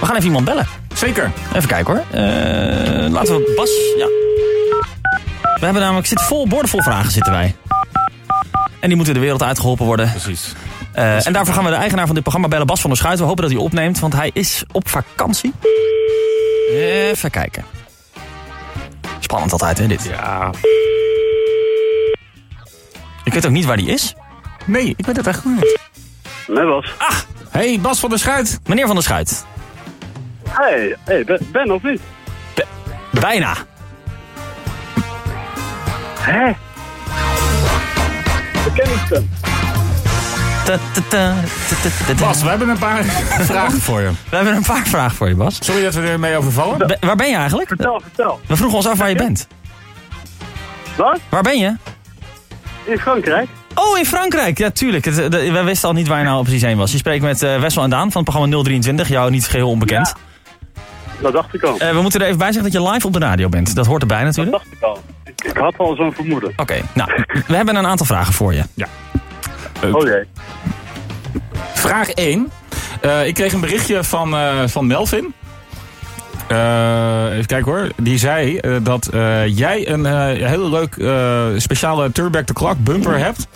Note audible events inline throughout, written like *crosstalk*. We gaan even iemand bellen. Zeker. Even kijken hoor. Eh, laten we Bas... Ja. We hebben namelijk... Zit vol, borden vol vragen zitten wij. En die moeten de wereld uitgeholpen worden. Precies. Eh, en daarvoor gaan we de eigenaar van dit programma bellen, Bas van der Schuit. We hopen dat hij opneemt, want hij is op vakantie. Even kijken. Spannend altijd, hè, dit. Ja. Ik weet ook niet waar hij is. Nee, ik weet het echt niet. Met wat? Hey, Bas van der Schuit. Ah, Meneer van der Schuit. Hey, hey ben, ben of niet? Bijna. Hé? Bekendsten. Ta, ta, ta, ta, ta, ta, ta. Bas, we hebben een paar *laughs* vragen voor je. We hebben een paar vragen voor je, Bas. Sorry dat we ermee overvallen. Be- waar ben je eigenlijk? Vertel, vertel. We vroegen ons af waar je bent. Wat? Waar ben je? In Frankrijk? Oh, in Frankrijk. Ja, tuurlijk. Het, de- we wisten al niet waar je nou precies heen was. Je spreekt met eh, Wessel en Daan van het programma 023. Jou niet geheel onbekend. Dat dacht ik al. Eh, hm? we moeten er even bij zeggen dat je live op de radio bent. Dat hoort erbij natuurlijk. Dat dacht ik al. Ik, ik had al zo'n vermoeden. Oké, nou, we hebben een aantal vragen voor je. Oh jee. Vraag 1. ik kreeg een berichtje van, eh, van Melvin. Eh, even kijken hoor. Die zei eh, dat eh, jij een eh, heel leuk eh, speciale Turback the Clock bumper hebt.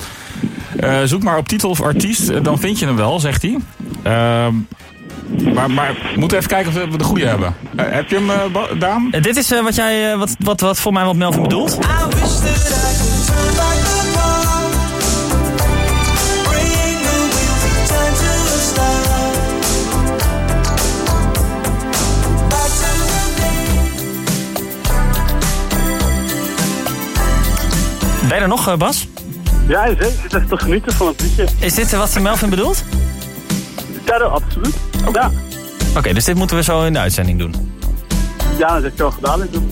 Eh, zoek maar op titel of artiest, eh, dan vind je hem wel, zegt hij. Ehm, maar, maar we moeten even kijken of we de goede hebben. Eh, heb je hem, eh, Ba- Daan? Eh, dit is eh, wat jij, eh, wat, wat, wat voor mij wat Melvin bedoelt. I wish that I could turn back the clock, bring the wheels of time to a stop. Back to the day Ben je er nog, eh, Bas? Ja, zeker. Ik zit echt te genieten van het liedje. Is dit eh, wat Melvin bedoelt? Ja, dat absoluut. Oh. Ja. Oké, dus dit moeten we zo in de uitzending doen. Ja, dat heb ik al gedaan. Ik doe-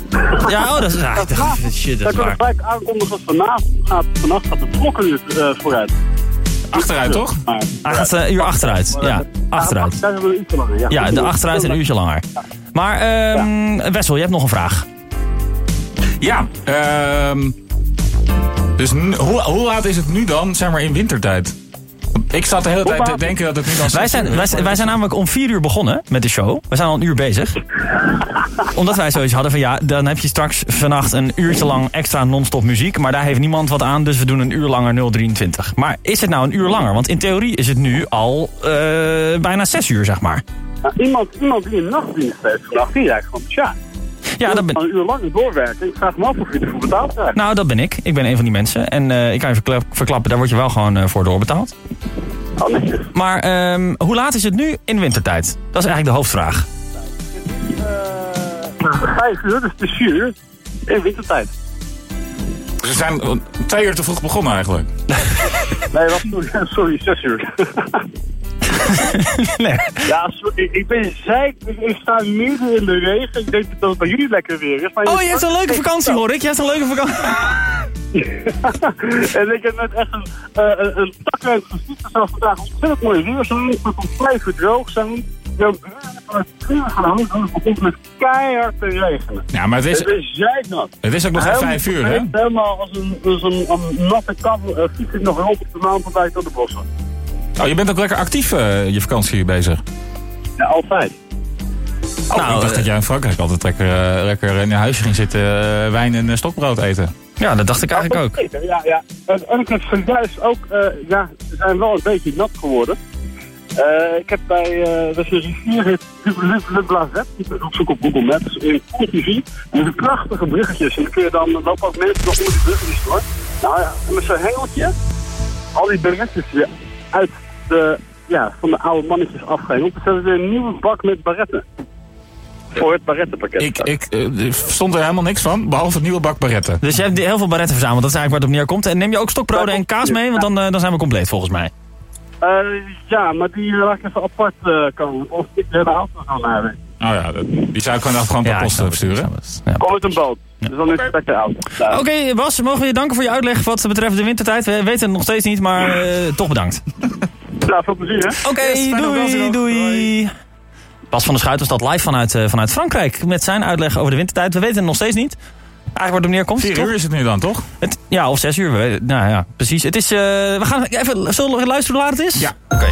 Ja, oh, dat is... ah, dat- shit, dat Dat is kan waar. ik gelijk aankondigen. Vanavond gaat, vannacht gaat de klok een uur eh, vooruit. Achteruit, toch? Maar, Hij gaat eh, een uur achteruit. Ja, achteruit. Daar hebben we een uur te lang. Ja, Ja, de achteruit een uurtje langer. Maar, ehm Wessel, je hebt nog een vraag. Ja. ehm, dus n- hoe, hoe laat is het nu dan, zeg maar, in wintertijd? Want Ik zat de hele tijd te laat? denken dat het nu dan... Wij zes uur zijn, is, wij, maar zijn- wij zijn namelijk om vier uur begonnen met de show. We zijn al een uur bezig. Omdat wij zoiets hadden van ja, dan heb je straks vannacht een uurtje lang extra non-stop muziek. Maar daar heeft niemand wat aan, dus we doen een uur langer 023. Maar is het nou een uur langer? Want in theorie is het nu al eh, bijna zes uur, zeg maar. Nou, iemand, iemand die een nachtdienst heeft vannacht, die rijdt gewoon tja. Ja, dat ben, Een uur lang doorwerken. Ik vraag me af of je ervoor betaald krijgt. nou, dat ben ik. Ik ben een van die mensen. En eh, ik kan je verkla- verklappen, daar word je wel gewoon eh, voor doorbetaald. Nou, netjes. Maar ehm, hoe laat is het nu in wintertijd? Dat is eigenlijk de hoofdvraag. Vijf uur, dus het is vier uur. In wintertijd. Ze zijn eh, twee uur te vroeg begonnen eigenlijk. Nee, wacht, sorry, sorry, zes uur. nee. Ja, sorry, ik- ik ben zeik. Ik, ik sta midden in de regen. Ik denk dat het bij jullie lekker weer is. maar Oh, je hebt een leuke vakantie, hoor ik. Je hebt een leuke vakantie. En ik heb net echt een, eh een, een tak uit gezien. Het zou vandaag ontzettend mooi weer zijn. Het moet om vijf uur droog zijn. Ik ben bruin van het vuur gaan houden. want Het begon met keihard te regenen. Ja, maar het is, Het is zeiknat. het is ook nog geen Helemaal vijf uur, hè? verkleed, Helemaal als een, als een, een natte kat eh, fiets ik nog rond op de maan voorbij tot de bossen. Oh, je bent ook lekker actief eh, je vakantie hier bezig. Ja, altijd. Oh, Nou, ik dacht eh, dat jij in Frankrijk altijd lekker, eh, lekker in je huisje ging zitten eh, wijn en eh, stokbrood eten. *laughs* Ja, dat dacht ik eigenlijk ook. Zeker, ja, ja. En, en ik heb zojuist ook, eh, ja, ze zijn wel een beetje nat geworden. Eh, ik heb bij, eh, dat is een rivier, heet Le, Le, Le Blazet, ik zoek op Google Maps, in Courtivi. En er prachtige bruggetjes. En dan kun je dan, er lopen ook mensen nog onder die bruggetjes door. Nou ja, en met zo'n hengeltje, al die barretjes weer uit de, ja, van de oude mannetjes afgehengeld. Dus hebben we weer een nieuwe bak met barretten. Voor het barrettenpakket. Ik, ik eh, er stond er helemaal niks van, behalve het nieuwe bak barretten. Dus je hebt heel veel barretten verzameld. Dat is eigenlijk waar het op neerkomt. En neem je ook stokbroden en kaas mee? Want dan, eh, dan zijn we compleet volgens mij. Eh, ja, maar die laat ik even apart eh, komen. Of ik de hele auto gaan hebben. Oh ja, dat- die zou ik gewoon gewoon per ik post snap het, ik sturen. snap het. Ja. Kom met een boot. Dus dan is het lekker oud. Ja. Oké, Bas, mogen we je danken voor je uitleg wat betreft de wintertijd. We weten het nog steeds niet, maar eh, toch bedankt. Nou, veel plezier, hè? *laughs* Oké, fijne vakantie doei, nog. doei. Bas van der Schuit was dat live vanuit, eh, vanuit Frankrijk. Met zijn uitleg over de wintertijd. We weten het nog steeds niet. Eigenlijk waar het op neerkomt. Vier toch? uur is het nu dan, toch? Het, ja, of zes uur. we weten- nou ja, precies. Het is, eh, we gaan even zullen we luisteren hoe laat het is. Ja. Oké.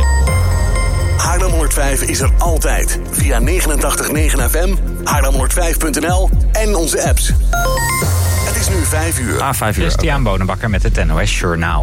Haarlem 105 is er altijd. Via 89.9 FM, haarlem105.nl en onze apps. Het is nu 5 uur. A5 Ah, uur. Christian Bonenbakker met het NOS Journaal.